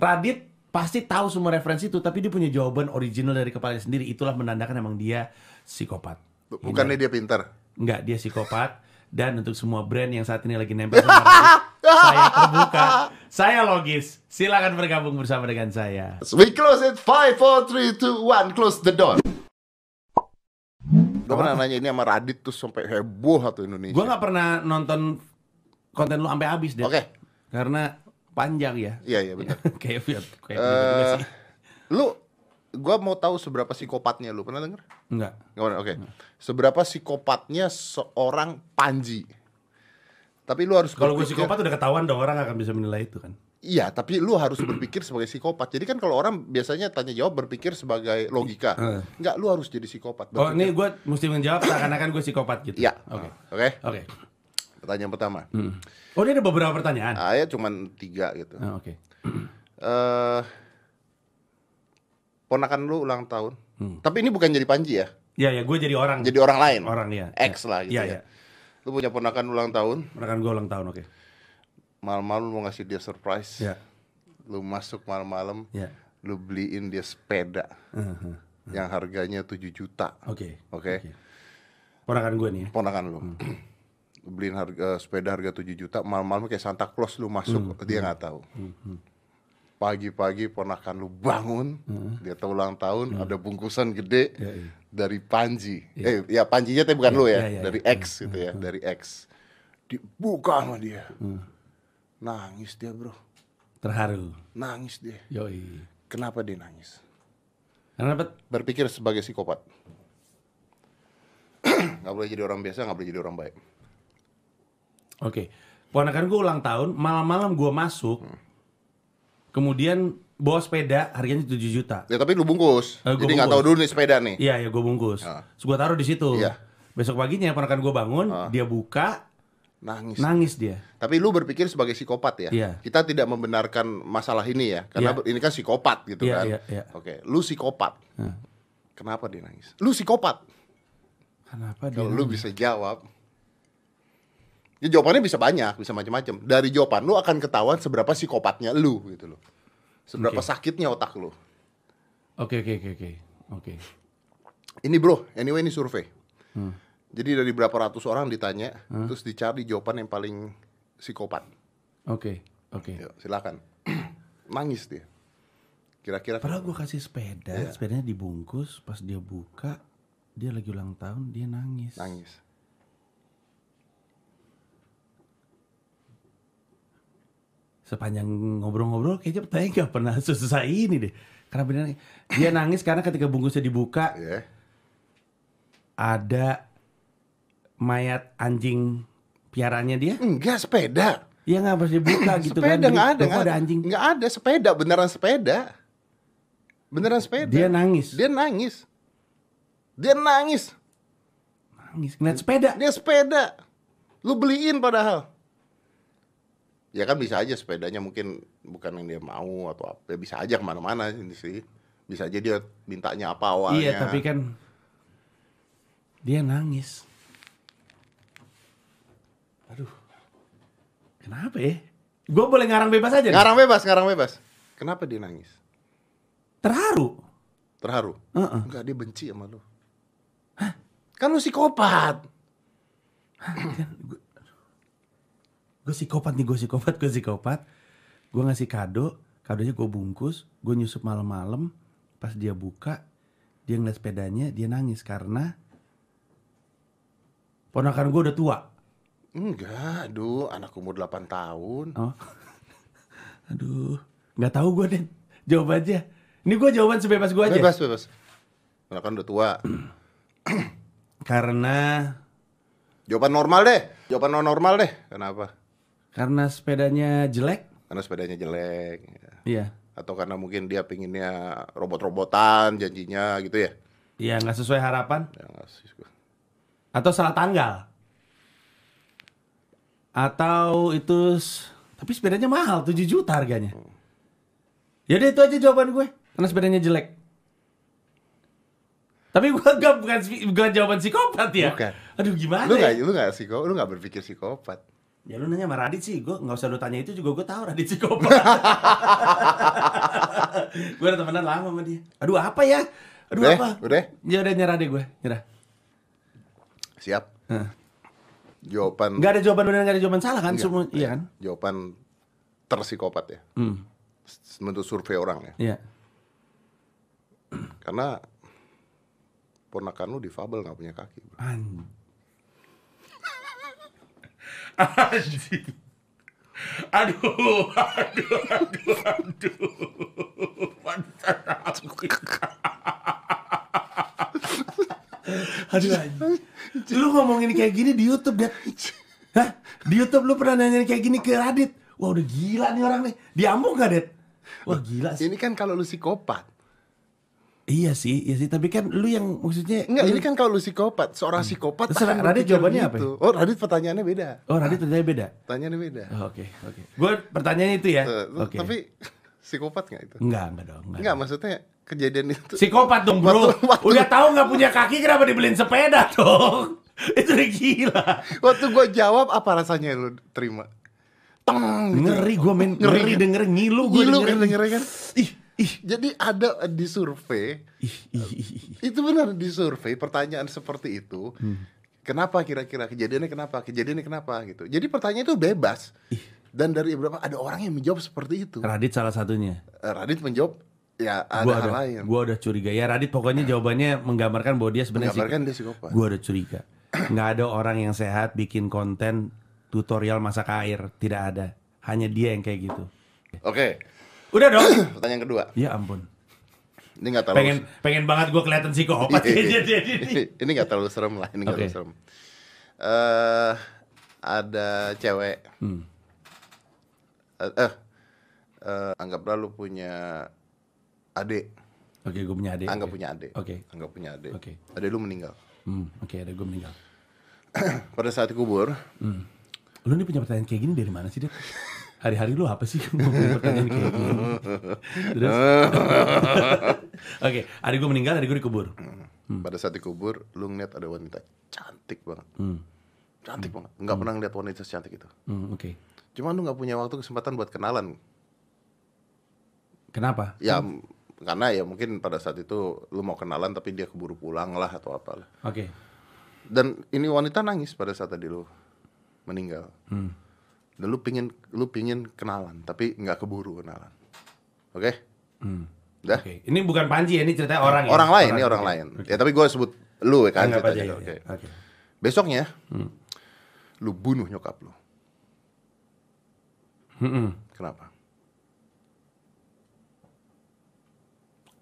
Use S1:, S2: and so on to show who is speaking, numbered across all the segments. S1: Radit pasti tahu semua referensi itu tapi dia punya jawaban original dari kepalanya sendiri itulah menandakan emang dia psikopat
S2: Bukannya
S1: Iya.
S2: dia pintar.
S1: Enggak, dia psikopat. Dan untuk semua brand yang saat ini lagi nempel sama Radit, saya terbuka. Saya logis. Silakan bergabung bersama dengan saya.
S2: We close it 5, 4, 3, 2, 1 Close the door Gue pernah nanya ini sama Radit tuh sampai heboh atau Indonesia
S1: Gua nggak pernah nonton konten lu sampai habis deh.
S2: Oke.
S1: Karena panjang ya.
S2: Iya iya benar.
S1: kayak kayak gitu
S2: Eh,
S1: sih.
S2: Lu Gua mau tahu seberapa psikopatnya lu Pernah denger?
S1: Enggak.
S2: Nggak pernah, oke Seberapa psikopatnya seorang Panji Tapi lu harus
S1: Kalau gue
S2: berpikir-
S1: psikopat udah ketahuan dong orang akan bisa menilai itu kan.
S2: Iya, tapi lu harus berpikir sebagai psikopat. Jadi kan kalau orang biasanya tanya jawab berpikir sebagai logika.
S1: Heeh.
S2: Enggak, lu harus jadi psikopat.
S1: Eh. Oh,
S2: berpikir.
S1: ini gue mesti menjawab seakan-akan gue psikopat gitu.
S2: Iya.
S1: Oke.
S2: Oke.
S1: Oke.
S2: Pertanyaan pertama.
S1: Oh, ini ada beberapa pertanyaan.
S2: Ah, ya cuman tiga gitu. Eh,
S1: Ah, Oke.
S2: ponakan lu ulang tahun. Tapi ini bukan jadi Panji ya.
S1: Ya ya, gue jadi orang.
S2: Jadi orang lain.
S1: Orang, iya.
S2: Ex lah gitu
S1: Iya,
S2: ya.
S1: iya.
S2: Lu punya ponakan ulang tahun,
S1: Rekan gue ulang tahun, oke.
S2: malam-malam lu mau ngasih dia surprise.
S1: Iya.
S2: Lu masuk malam-malam,
S1: Iya.
S2: lu beliin dia sepeda
S1: Mhm.
S2: yang harganya 7 juta.
S1: Oke.
S2: Oke.
S1: Ponakan gue nih ya.
S2: ponakan lu. Lu Beliin harga sepeda harga 7 juta, malam-malam kayak Santa Claus lu masuk, dia nggak tahu. hmm. Pagi-pagi ponakan lu bangun, dia tahu ulang tahun, ada bungkusan gede
S1: Iya, iya.
S2: dari Panji. Eh, Hmm. ya Panjinya tapi bukan lu
S1: iya,
S2: ya,
S1: iya,
S2: dari X gitu ya, dari X. Dibuka sama dia. Nangis dia, Bro.
S1: Terharu.
S2: Nangis dia.
S1: Yoi.
S2: Kenapa dia nangis?
S1: Karena dapat
S2: Berpikir sebagai psikopat. nggak boleh jadi orang biasa, nggak boleh jadi orang baik.
S1: Oke. Ponakan gue ulang tahun, malam-malam gue masuk.
S2: Hmm.
S1: Kemudian bawa sepeda harganya 7 juta.
S2: Ya tapi lu bungkus.
S1: Eh, gua
S2: Jadi nggak tahu
S1: bungkus.
S2: dulu nih sepeda nih.
S1: Iya, ya gue bungkus.
S2: Ah.
S1: Terus gue taruh di situ.
S2: Iya. Ah.
S1: Besok paginya ponakan gue bangun, dia buka,
S2: Nangis.
S1: nangis dia.
S2: Tapi lu berpikir sebagai
S1: Nah.
S2: psikopat ya.
S1: Iya.
S2: Kita tidak membenarkan masalah ini ya,
S1: Iya.
S2: karena ber- ini kan psikopat gitu
S1: Iya,
S2: kan.
S1: iya, iya.
S2: Oke, lu psikopat.
S1: Hah.
S2: Kenapa dia nangis? Lu psikopat.
S1: Kenapa dia?
S2: Kalau lu bisa jawab, ya jawabannya bisa banyak, bisa macam-macam. Dari jawaban lu akan ketahuan seberapa psikopatnya lu gitu loh. Seberapa sakitnya otak lu.
S1: Oke, oke, oke, oke. Oke.
S2: Ini bro, anyway ini survei. Jadi dari berapa ratus orang ditanya, terus dicari jawaban yang paling psikopat.
S1: Oke, oke.
S2: Yuk, silakan. Nangis dia. Kira-kira
S1: Padahal gue kasih sepeda,
S2: Iya.
S1: sepedanya dibungkus, pas dia buka, dia lagi ulang tahun, dia nangis.
S2: nangis.
S1: Sepanjang ngobrol-ngobrol, kayaknya pertanyaan gak pernah susah ini deh. Karena benar dia nangis karena ketika bungkusnya dibuka
S2: Ya.
S1: ada mayat anjing piarannya dia.
S2: Enggak sepeda.
S1: Iya nggak pas dibuka gitu kan?
S2: sepeda
S1: Jadi,
S2: nggak
S1: "Loh,
S2: ada,
S1: kok
S2: nggak
S1: ada anjing.
S2: Nggak ada sepeda, beneran sepeda. Beneran sepeda.
S1: Dia nangis,
S2: Dia nangis. Dia nangis.
S1: nangis ngeliat sepeda.
S2: Dia sepeda. Lu beliin padahal. Ya kan bisa aja sepedanya mungkin bukan yang dia mau atau apa. Ya Bisa aja kemana-mana ini sih. Bisa aja dia mintanya apa awalnya.
S1: Iya tapi kan dia nangis. Aduh, kenapa ya? Gue boleh ngarang bebas aja. nih?
S2: Ngarang bebas, ngarang bebas. Kenapa dia nangis?
S1: Terharu.
S2: Terharu?
S1: Heeh.
S2: Enggak, dia benci sama lu. Kan lu psikopat.
S1: Gue psikopat nih, gue psikopat, gue psikopat. Gue ngasih kado, kadonya gue bungkus, gue nyusup malam-malam. Pas dia buka, dia ngeliat sepedanya, dia nangis karena ponakan gue udah tua.
S2: Enggak, aduh, anak umur 8 tahun.
S1: Oh. Aduh, nggak tahu gue deh. Jawab aja. Ini gue jawaban sebebas gue aja.
S2: Bebas, bebas. Anak kan udah tua.
S1: Karena
S2: Jawaban normal deh. Jawaban non normal deh. Kenapa?
S1: karena sepedanya jelek.
S2: Karena sepedanya jelek. ya.
S1: Iya.
S2: Atau karena mungkin dia pinginnya robot-robotan janjinya gitu ya.
S1: Iya, nggak sesuai harapan
S2: Ya, nggak sih gua.
S1: atau salah tanggal. Atau itu s- tapi sepedanya mahal, 7 juta harganya. Ya itu aja jawaban gue. Karena sepedanya jelek. Tapi gue gak bukan, bukan jawaban psikopat ya.
S2: Bukan.
S1: Aduh gimana?
S2: Lu
S1: ya?
S2: nggak lu nggak psiko, lu nggak berpikir psikopat.
S1: Ya lu nanya sama Radit sih, gue nggak usah lu tanya itu juga gue tahu Radit psikopat. gue udah temenan lama sama dia. Aduh apa ya? Aduh
S2: Udah,
S1: apa?
S2: udah.
S1: Ya udah nyerah deh gue, nyerah.
S2: Siap.
S1: Heeh.
S2: Jawaban
S1: Gak ada jawaban benar, gak ada jawaban salah kan
S2: Enggak.
S1: semua, iya kan?
S2: jawaban terpsikopat ya.
S1: Hmm,
S2: s- Menurut survei orang
S1: iya.
S2: ya. Karena ponakan lu difabel nggak punya kaki. Bro.
S1: An. Anjing. Aduh, aduh, aduh, aduh. Pantesan aku. Aduh, anjing. lu ngomongin kayak gini di YouTube, Dad. Hah? Di YouTube lu pernah nanya kayak gini ke Radit? Wah, udah gila nih orang nih. Diambung gak, Dad? Wah, gila sih.
S2: Ini kan kalau lu psikopat.
S1: Iya sih, iya sih. Tapi kan lu yang maksudnya...
S2: Enggak,
S1: lu-
S2: ini kan kalau lu Hmm. psikopat, seorang psikopat
S1: Terus
S2: akan
S1: Radit
S2: berpikir
S1: jawabannya apa
S2: gitu. Oh, Radit pertanyaannya beda.
S1: Oh, Radit ternyata beda?
S2: Pertanyaannya beda.
S1: Oh, Oke, oke. Gue pertanyaannya itu ya.
S2: Eh,
S1: Oke.
S2: Tapi psikopat nggak itu?
S1: enggak, enggak dong. Enggak.
S2: Enggak, maksudnya kejadian itu.
S1: Psikopat dong, Bro.
S2: Waktu- waktu-
S1: Udah tahu nggak punya kaki kenapa dibeliin sepeda dong? itu udah gila.
S2: Waktu gua jawab apa rasanya lu terima? Teng gitu.
S1: Ngeri gue main ngeri,
S2: Ngeri. kan?
S1: denger ngilu gue
S2: Ngilu kan dengernya kan?
S1: Ih, ih,
S2: Jadi ada eh, di survei,
S1: ih, ih, ih, ih.
S2: itu benar di survei pertanyaan seperti itu.
S1: Hmm.
S2: Kenapa kira-kira kejadiannya kenapa? Kejadiannya kenapa gitu. Jadi pertanyaan itu bebas. Dan dari beberapa ada orang yang menjawab seperti itu.
S1: Radit salah satunya.
S2: Eh, Radit menjawab ya ada
S1: Gua
S2: hal
S1: udah,
S2: lain. Nah.
S1: gua udah curiga. Ya Radit pokoknya jawabannya menggambarkan bahwa dia sebenarnya
S2: Menggambarkan
S1: psik-
S2: dia psikopat.
S1: Gua udah curiga. Nggak ada orang yang sehat bikin konten tutorial masak air, tidak ada. Hanya dia yang kayak gitu.
S2: Oke,
S1: Udah dong.
S2: pertanyaan kedua.
S1: Ya ampun.
S2: Ini nggak terlalu Iya,
S1: Pengen pengen banget gue kelihatan psikopat kayaknya dia dia- dia.
S2: ini nggak terlalu serem lah, ini nggak
S1: Oke.
S2: terlalu serem. Eh ada cewek.
S1: Hmm.
S2: Eh, eh, eh, anggaplah lu punya adik,
S1: Oke, gue punya adik.
S2: anggap
S1: Oke.
S2: punya adik.
S1: Oke.
S2: Anggap punya adik.
S1: Oke.
S2: Adik lu meninggal.
S1: Hmm, oke, ada gue meninggal.
S2: Pada saat dikubur,
S1: Lu nih punya pertanyaan kayak gini dari mana sih, Dad? Hari-hari lu apa sih mau punya pertanyaan kayak gini? Terus? oke, adik gue meninggal, adik gue dikubur. Hmm.
S2: pada saat dikubur, lu ngeliat ada wanita cantik banget. Cantik banget. Nggak pernah ngeliat wanita secantik itu.
S1: Hmm, oke.
S2: Cuman lu nggak punya waktu kesempatan buat kenalan.
S1: Kenapa?
S2: Ya m- karena ya mungkin pada saat itu lu mau kenalan tapi dia keburu pulang lah atau apalah.
S1: Oke.
S2: Dan ini wanita nangis pada saat tadi lu meninggal.
S1: Hmm.
S2: Dan lu pingin lu pingin kenalan tapi nggak keburu kenalan. Oke?
S1: Hmm.
S2: Dah.
S1: Oke, ini bukan Panji ya, ini ceritanya orang ya.
S2: Iya, Orang lain, ini orang
S1: oke.
S2: lain. Ya tapi gua sebut lu ya kan
S1: Anggap aja.
S2: ceritanya.
S1: ya,
S2: Oke.
S1: ya. Oke.
S2: Besoknya
S1: Hmm.
S2: lu bunuh nyokap lu.
S1: Mm-mm.
S2: Kenapa?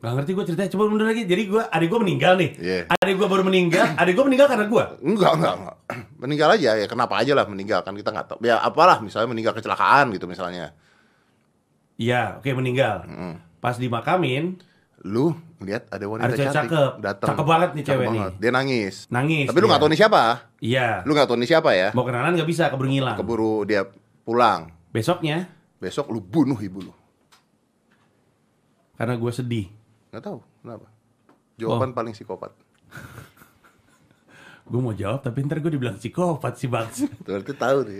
S1: Gak ngerti gue ceritanya, coba mundur lagi. Jadi gue, adik gue meninggal nih.
S2: Iya.
S1: Adik gue baru meninggal, adik gue meninggal karena gue.
S2: Enggak, enggak, enggak. Meninggal aja ya kenapa aja lah meninggal kan kita nggak tahu. Ya apalah misalnya meninggal kecelakaan gitu misalnya.
S1: Iya, oke meninggal. Pas dimakamin,
S2: lu ngeliat ada wanita
S1: Ada cewek
S2: cantik
S1: cakep.
S2: datang
S1: Cakep banget nih cewek nih.
S2: dia nangis
S1: Nangis
S2: tapi lu
S1: dia.
S2: nggak tahu nih siapa
S1: iya.
S2: lu nggak tahu nih siapa ya
S1: Mau kenalan nggak bisa, keburu ngilang.
S2: keburu dia pulang
S1: Besoknya,
S2: besok lu bunuh ibu lu
S1: karena gue sedih.
S2: nggak tahu kenapa
S1: Oh.
S2: jawaban paling psikopat
S1: Gue mau jawab, tapi ntar gue dibilang psikopat sih bang.
S2: berarti tahu nih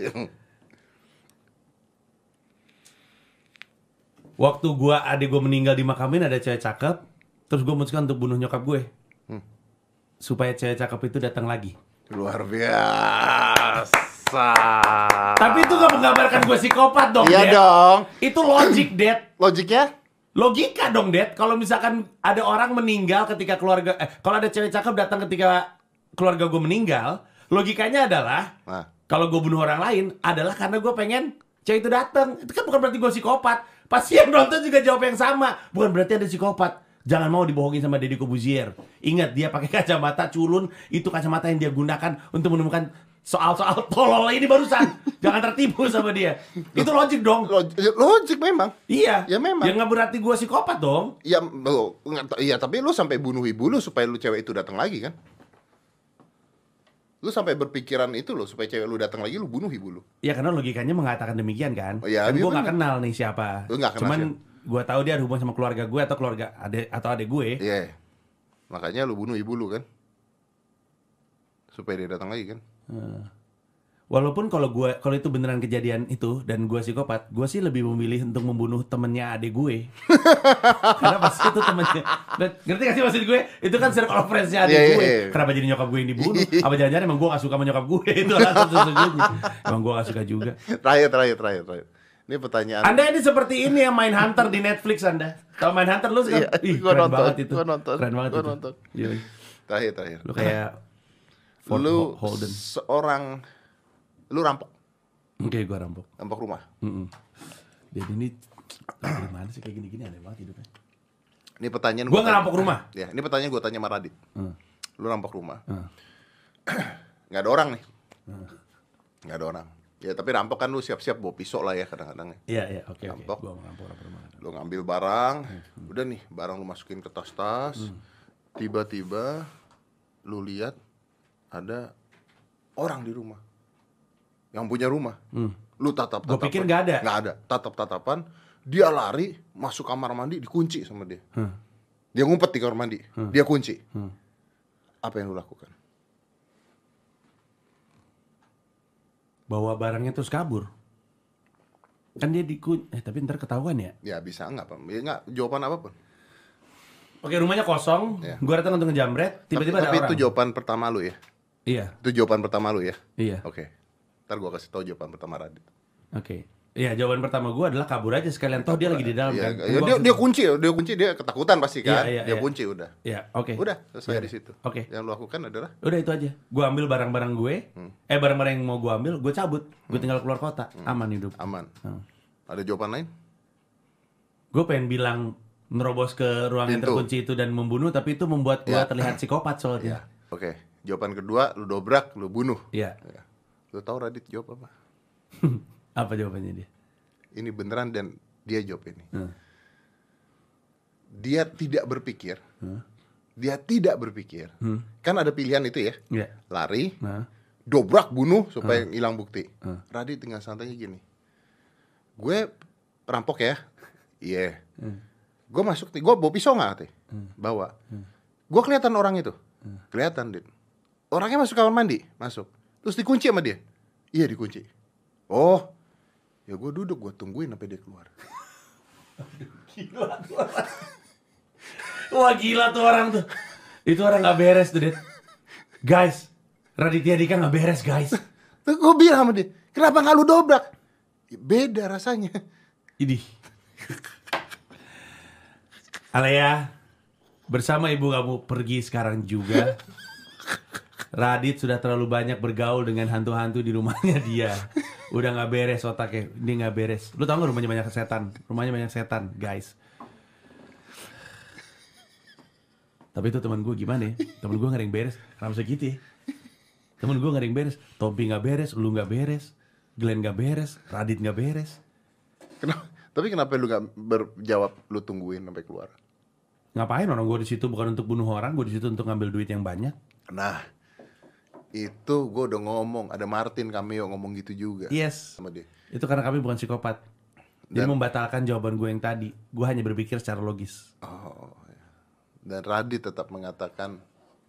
S1: Waktu gue adik gue meninggal dimakamin ada cewek cakep, terus gue memutuskan untuk bunuh nyokap gue.
S2: Hmm.
S1: Supaya cewek cakep itu datang lagi.
S2: luar biasa
S1: Tapi itu gak menggambarkan gue psikopat dong,
S2: iya
S1: Dad.
S2: dong
S1: Itu logic, Dad.
S2: logiknya
S1: Logika dong, Det. Kalau misalkan ada orang meninggal ketika keluarga eh kalau ada cewek cakep datang ketika keluarga gue meninggal, logikanya adalah
S2: nah
S1: kalau gue bunuh orang lain adalah karena gue pengen cewek itu datang. Itu kan bukan berarti gue psikopat. Pasti yang nonton juga jawab yang sama. Bukan berarti ada psikopat. Jangan mau dibohongin sama Deddy Kobuzier. Ingat dia pakai kacamata culun itu kacamata yang dia gunakan untuk menemukan soal-soal tolol ini barusan. Jangan tertipu sama dia. Itu logik dong.
S2: log- logik memang
S1: Iya.
S2: Ya memang.
S1: Yang nggak berarti gue psikopat dong.
S2: Ya, lu, nggak tahu- iya, tapi lu sampai bunuh ibu lu supaya lu cewek itu datang lagi kan? Lu sampai berpikiran itu loh supaya cewek lu datang lagi lu bunuh ibu lu.
S1: Ya karena logikanya mengatakan demikian kan.
S2: Oh, iya,
S1: kan
S2: iya
S1: gue nggak
S2: bener.
S1: kenal nih siapa.
S2: Lu nggak kenal
S1: Cuman gue tahu dia ada hubungan sama keluarga gue atau keluarga ade atau adik gue.
S2: Iya. Makanya lu bunuh ibu lu kan? Supaya dia datang lagi kan?
S1: Walaupun kalau gua kalau itu beneran kejadian itu dan gua psikopat, gua sih lebih memilih untuk membunuh temennya adik gue. Karena pasti itu temennya. Dan- ngerti gak sih maksud gue? Itu kan circle of friends-nya adik
S2: Iya, iya,
S1: gue.
S2: iya.
S1: Kenapa jadi nyokap gue yang dibunuh? Apa jangan-jangan emang gue gak suka sama nyokap gue? itu alasan sesungguhnya. Emang gue gak suka juga.
S2: Terakhir, terakhir, terakhir, terakhir. Ini pertanyaan.
S1: Anda ini seperti ini yang main Hunter di Netflix Anda. Kalau main Hunter lu
S2: Iya,
S1: suka, ih
S2: gua
S1: keren
S2: nonton,
S1: banget itu.
S2: gua nonton,
S1: Keren banget
S2: gua
S1: itu.
S2: nonton.
S1: Yoi.
S2: Terakhir, terakhir.
S1: Lu kayak Ford
S2: lu
S1: Ho- Holden.
S2: seorang lu rampok,
S1: Oke, gua rampok.
S2: rampok rumah.
S1: Mm-mm. Dan ini dari mana sih kayak gini-gini aneh banget hidupnya.
S2: Ini pertanyaan
S1: Gua
S2: gua
S1: nggak
S2: tanya-
S1: rampok rumah.
S2: Ya, ini pertanyaan gua tanya sama Radit.
S1: Hmm.
S2: Lu rampok rumah.
S1: Hmm.
S2: nggak ada orang nih. nggak ada orang. Ya, tapi rampok kan lu siap-siap bawa pisau lah ya kadang-kadang. ya.
S1: Iya, iya, oke, oke.
S2: Rampok.
S1: Gua mau rampok, rampok, rampok.
S2: Lu ngambil barang,
S1: Hmm.
S2: udah nih barang lu masukin ke tas-tas. Tiba-tiba lu lihat ada orang di rumah. Yang punya rumah. Lu tatap
S1: Hmm. Gua
S2: tatapan.
S1: pikir nggak ada.
S2: Nggak ada. Tatap tatapan. Dia lari masuk kamar mandi dikunci sama dia.
S1: Hmm.
S2: Dia ngumpet di kamar mandi. Dia kunci. Apa yang lu lakukan?
S1: Bawa barangnya terus kabur. Kan dia dikun eh tapi ntar ketahuan ya.
S2: Ya bisa nggak apa? Ya, nggak jawaban apapun.
S1: Oke, rumahnya kosong.
S2: Iya.
S1: Gua datang untuk ngejamret, tiba-tiba
S2: tapi,
S1: ada
S2: tapi
S1: orang.
S2: itu jawaban pertama lu ya.
S1: Iya,
S2: Itu jawaban pertama lu ya.
S1: iya.
S2: Oke. Ntar gua kasih tau jawaban pertama Radit.
S1: Oke. Iya, jawaban pertama gua adalah kabur aja sekalian. Toh dia lagi di dalam
S2: Iya,
S1: kan.
S2: iya, dia, dia kunci, dia kunci, dia ketakutan pasti kan.
S1: Iya, iya,
S2: dia
S1: iya.
S2: kunci udah.
S1: Iya, oke.
S2: Udah, selesai di situ.
S1: Oke.
S2: Yang lu lakukan adalah
S1: Udah itu aja. Gua ambil barang-barang gue.
S2: Hmm.
S1: Eh, barang-barang yang mau gua ambil, gue cabut. Gue tinggal keluar kota. Aman hidup.
S2: aman.
S1: Hmm.
S2: Ada jawaban lain?
S1: Gue pengen bilang nerobos ke ruang yang
S2: Pintu.
S1: terkunci itu dan membunuh, tapi itu membuat gua
S2: Iya.
S1: terlihat psikopat soalnya.
S2: Oke. Jawaban kedua, lu dobrak, lu bunuh.
S1: Iya.
S2: Ya. Lu tahu Radit jawab apa?
S1: Apa jawabannya dia?
S2: Ini beneran dan dia jawab ini.
S1: Hmm.
S2: Dia tidak berpikir. Dia tidak berpikir. Kan ada pilihan itu ya.
S1: Iya.
S2: Lari,
S1: Nah.
S2: dobrak bunuh supaya hilang bukti. Radit tinggal santainya gini. Gue rampok ya. Iya. Gue masuk nih, gue bawa pisau nggak teh? Bawa. Gue kelihatan orang itu. Kelihatan, Dit. Orangnya masuk kamar mandi, masuk. Terus dikunci sama dia. Iya, dikunci. Oh. Ya gue duduk, gue tungguin sampai dia keluar.
S1: Gila tuh orang. Wah gila tuh orang tuh. Itu orang nggak beres tuh, Ded. Guys, Raditya Dika nggak beres, guys.
S2: Terus gue bilang sama dia, kenapa nggak lu dobrak? "Ya, Beda rasanya.
S1: Idih. Alea, bersama ibu kamu pergi sekarang juga. Radit sudah terlalu banyak bergaul dengan hantu-hantu di rumahnya dia. Udah nggak beres otaknya, ini nggak beres. Lu tau gak rumahnya banyak setan? Rumahnya banyak setan, guys. Tapi itu teman gue gimana ya? Temen gue nggak ada yang beres. Kenapa bisa gitu ya? Temen gue nggak ada yang beres. Tompi nggak beres, lu nggak beres, Glenn nggak beres, Radit nggak beres.
S2: Kenapa? Tapi kenapa lu nggak berjawab lu tungguin sampai keluar?
S1: ngapain orang gue di situ bukan untuk bunuh orang gue di situ untuk ngambil duit yang banyak
S2: Nah, itu gue udah ngomong. Ada Martin cameo ngomong gitu juga
S1: yes
S2: sama dia.
S1: itu karena kami bukan psikopat dia membatalkan jawaban gue yang tadi gue hanya berpikir secara logis
S2: Oh, ya. dan Radit tetap mengatakan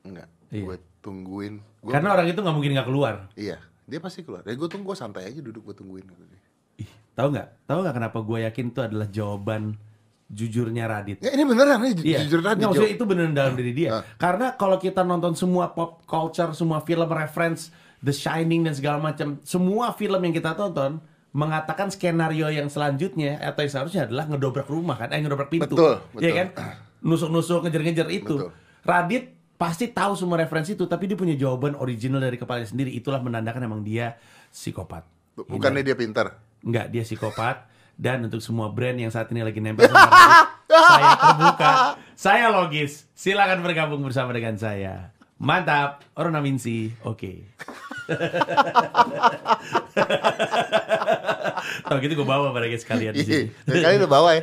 S2: enggak.
S1: Iya. Kan
S2: Gue tungguin. Gua,
S1: karena orang itu nggak mungkin nggak keluar
S2: iya, dia pasti keluar. Ya gue tunggu gua santai aja duduk gue tungguin. kata dia.
S1: ih tahu nggak tahu nggak kenapa gue yakin itu adalah jawaban jujurnya Radit
S2: Ya, ini beneran ini ju-
S1: Iya.
S2: jujur Radit.
S1: Nggak, maksudnya
S2: Jo. Ah.
S1: itu beneran dalam diri dia. Karena kalau kita nonton semua pop culture, semua film reference, The Shining dan segala macam, semua film yang kita tonton mengatakan skenario yang selanjutnya atau yang seharusnya adalah ngedobrak rumah kan, eh ngedobrak pintu.
S2: Betul, betul. Ah.
S1: Iya kan? Nusuk-nusuk, ngejar-ngejar itu.
S2: Betul.
S1: Radit pasti tahu semua referensi itu, tapi dia punya jawaban original dari kepalanya sendiri. Itulah menandakan emang dia psikopat.
S2: Bu- Bukannya
S1: Iya.
S2: dia pintar.
S1: Enggak, dia psikopat. Dan untuk semua brand yang saat ini lagi nempel sama Radit, saya terbuka. Saya logis. Silakan bergabung bersama dengan saya. Mantap, Orna Minsi. Oke. Tahu gitu gue bawa pada guys sekalian di sini.
S2: Iya, kali lu bawa ya.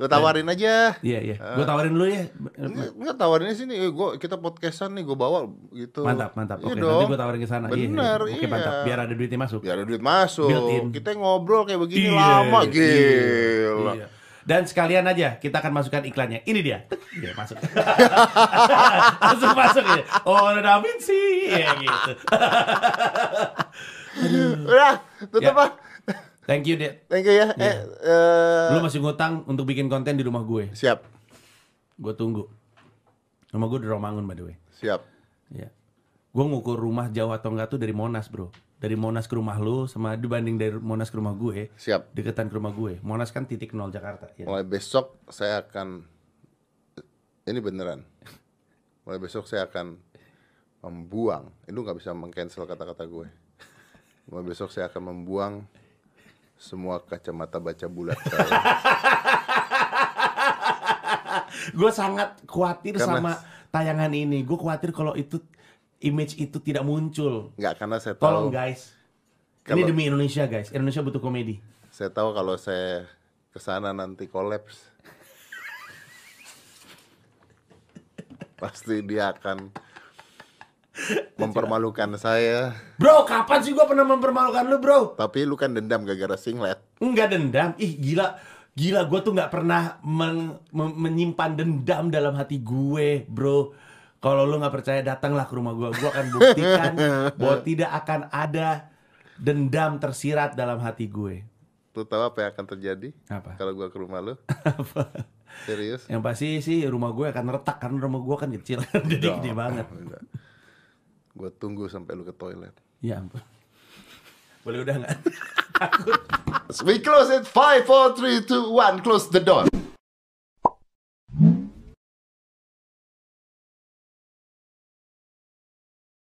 S2: Lu tawarin aja.
S1: Iya, iya. Gue tawarin dulu ya.
S2: Enggak, enggak tawarinnya sini. Eh, gua kita podcastan nih, gue bawa gitu.
S1: Mantap, mantap.
S2: Iya
S1: Oke, nanti
S2: dong.
S1: gue tawarin ke sana. Iya, iya.
S2: Bener, iya.
S1: Oke, mantap. Biar ada duitnya masuk.
S2: Biar ada duit masuk.
S1: Built in.
S2: Kita ngobrol kayak
S1: Iya,
S2: begini lama
S1: iya,
S2: gila.
S1: iya. Dan sekalian aja kita akan masukkan iklannya. Ini dia. Iya, masuk. Iya, Langsung masuk ya. Oh, Da Vinci. Iya gitu.
S2: Udah, tutup
S1: Ya. Iya.
S2: ah.
S1: Thank you, Dek.
S2: Thank you ya. Eh, eh,
S1: Lu masih ngutang untuk bikin konten di rumah gue.
S2: siap,
S1: Gue tunggu. Rumah gue di Romangun, by the way.
S2: siap.
S1: Iya. Gue ngukur rumah jauh atau enggak tuh dari Monas, bro. Dari Monas ke rumah lu sama dibanding dari Monas ke rumah gue,
S2: Siap.
S1: deketan ke rumah gue. Monas kan titik nol Jakarta. Ya.
S2: Mulai besok saya akan ini beneran. Mulai besok saya akan membuang. Ini lu nggak bisa mengcancel kata-kata gue. Mulai besok saya akan membuang semua kacamata baca bulat saya.
S1: Gue sangat khawatir
S2: Karena-
S1: sama tayangan ini. Gue khawatir kalau itu image itu tidak muncul.
S2: Nggak karena saya
S1: Tolong
S2: tahu.
S1: guys.
S2: Kalau-
S1: Ini demi Indonesia guys. Indonesia butuh komedi.
S2: Saya tahu kalau saya kesana nanti kolaps. Pasti dia akan mempermalukan saya.
S1: Bro, kapan sih gue pernah mempermalukan lu, bro?
S2: Tapi lu kan dendam gara-gara singlet.
S1: Enggak dendam. Ih, gila. Gila, gue tuh nggak pernah men- men- menyimpan dendam dalam hati gue, bro. Kalau lu nggak percaya, datanglah ke rumah gue. Gue akan buktikan bahwa tidak akan ada dendam tersirat dalam hati gue.
S2: Lu tahu apa yang akan terjadi?
S1: Apa? Ya.
S2: Kalau gua ke rumah lu?
S1: Apa?
S2: Serius?
S1: Yang pasti sih rumah gue akan retak karena rumah gue kan kecil, jadi gede banget.
S2: Enggak. Gua tunggu sampai lu ke toilet.
S1: Ya ampun. Boleh udah nggak?
S2: We close it 5 4 3 2 1 close the door.